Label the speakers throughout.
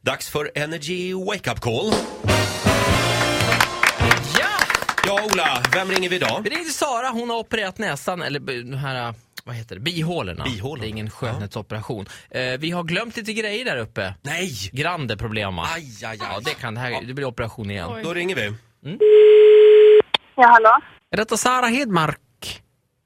Speaker 1: Dags för Energy Wake Up Call.
Speaker 2: Ja!
Speaker 1: Ja, Ola, vem ringer vi idag?
Speaker 2: Vi ringde till Sara, hon har opererat näsan, eller b- den här, vad heter det, bihålorna.
Speaker 1: Bihålorna.
Speaker 2: Det är ingen skönhetsoperation. Eh, vi har glömt lite grejer där uppe.
Speaker 1: Nej!
Speaker 2: Grande problem va?
Speaker 1: Aj, aj, aj.
Speaker 2: Ja, det kan det här, det blir operation igen.
Speaker 1: Då ringer vi.
Speaker 3: Ja, hallå?
Speaker 4: Är detta Sara Hedmark?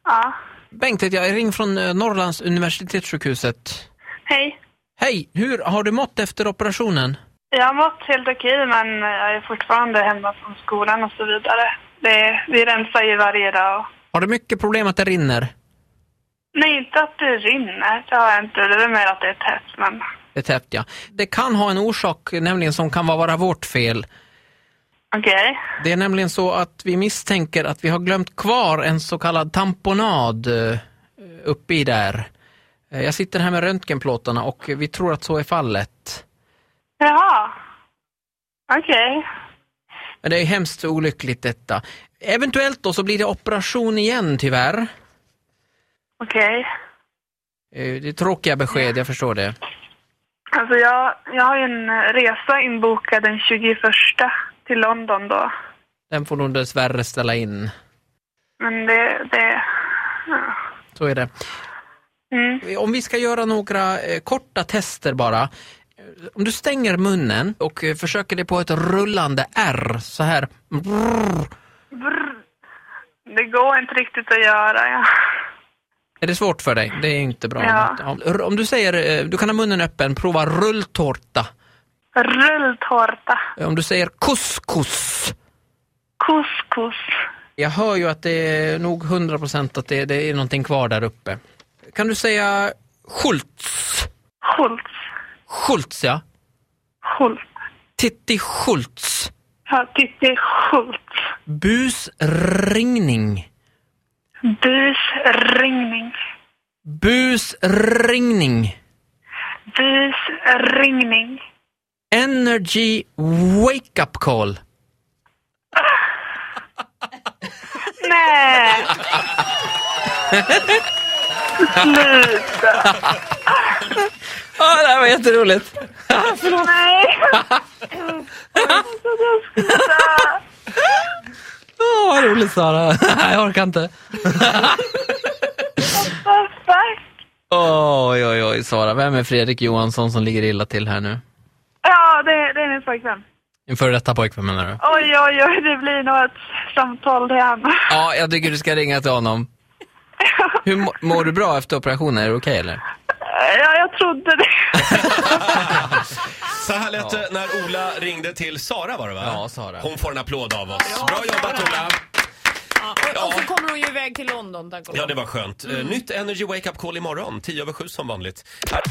Speaker 3: Ja.
Speaker 4: Bengt heter jag, jag ring från eh, Norrlands universitetssjukhuset.
Speaker 3: Hej.
Speaker 4: Hej, hur har du mått efter operationen?
Speaker 3: Jag har mått helt okej, men jag är fortfarande hemma från skolan och så vidare. Det, vi rensar ju varje dag. Och...
Speaker 4: Har du mycket problem att det rinner?
Speaker 3: Nej, inte att det rinner. Det har jag inte. Det är mer att det är tätt, men...
Speaker 4: Det täppte jag. Det kan ha en orsak, nämligen som kan vara bara vårt fel.
Speaker 3: Okej.
Speaker 4: Det är nämligen så att vi misstänker att vi har glömt kvar en så kallad tamponad eh, uppe i där. Eh, Jag sitter här med röntgenplåtarna och vi tror att så är fallet.
Speaker 3: Jaha. Okej.
Speaker 4: Men det är hemskt olyckligt detta. Eventuellt då så blir det operation igen tyvärr.
Speaker 3: Okej.
Speaker 4: Eh, Det är tråkiga besked, jag förstår det.
Speaker 3: Alltså, jag, jag har ju en resa inbokad den 21 till London då.
Speaker 4: Den får nog dessvärre ställa in.
Speaker 3: Men det... det ja.
Speaker 4: Så är det.
Speaker 3: Mm.
Speaker 4: Om vi ska göra några eh, korta tester bara. Eh, Om du stänger munnen och eh, försöker det på ett rullande R så här. Brrr.
Speaker 3: Brr. Det går inte riktigt att göra. Ja.
Speaker 4: Är det svårt för dig? Det är inte bra.
Speaker 3: Ja.
Speaker 4: Om- r- Om du säger, eh, du kan ha munnen öppen, prova rulltårta.
Speaker 3: Rulltårta.
Speaker 4: Eh, Om du säger couscous.
Speaker 3: Couscous.
Speaker 4: Jag hör ju att det är nog 100% att det, det är någonting kvar där uppe. Kan du säga Schultz?
Speaker 3: Schultz.
Speaker 4: Schultz ja.
Speaker 3: Schultz.
Speaker 4: Titti Schultz.
Speaker 3: Ja, Titti Schultz.
Speaker 4: Busringning.
Speaker 3: Busringning.
Speaker 4: Busringning.
Speaker 3: Busringning.
Speaker 4: Energy wake up call.
Speaker 3: Nej! Sluta!
Speaker 4: Ja, det här var jätteroligt.
Speaker 3: Nej! Sluta!
Speaker 4: Åh, vad roligt Sara. Jag orkar inte.
Speaker 3: Vad fuck?
Speaker 4: Oj, oj, oj Sara. Vem är Fredrik Johansson som ligger illa till här nu?
Speaker 3: Ja, det, det är min pojkvän.
Speaker 4: En före detta pojkvän menar du?
Speaker 3: Oj, oj, oj, det blir nog ett samtal det här.
Speaker 4: Ja, jag tycker du ska ringa till honom. Hur mår, mår du bra efter operationen? Är det okej eller?
Speaker 3: Ja, jag trodde det.
Speaker 1: Så här lät det när Ola ringde till Sara var det va?
Speaker 4: Ja, Sara.
Speaker 1: Hon får en applåd av oss.
Speaker 5: Ja,
Speaker 1: Bra
Speaker 5: Sara.
Speaker 1: jobbat Ola!
Speaker 5: Ja. Och så kommer hon ju iväg till London, tack och lov.
Speaker 1: Ja,
Speaker 5: Mm.
Speaker 1: det var skönt. Eh, Nytt Energy Wake Up Call imorgon, 10 över 7 som vanligt. Här.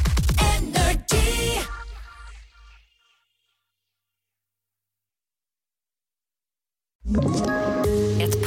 Speaker 6: Ett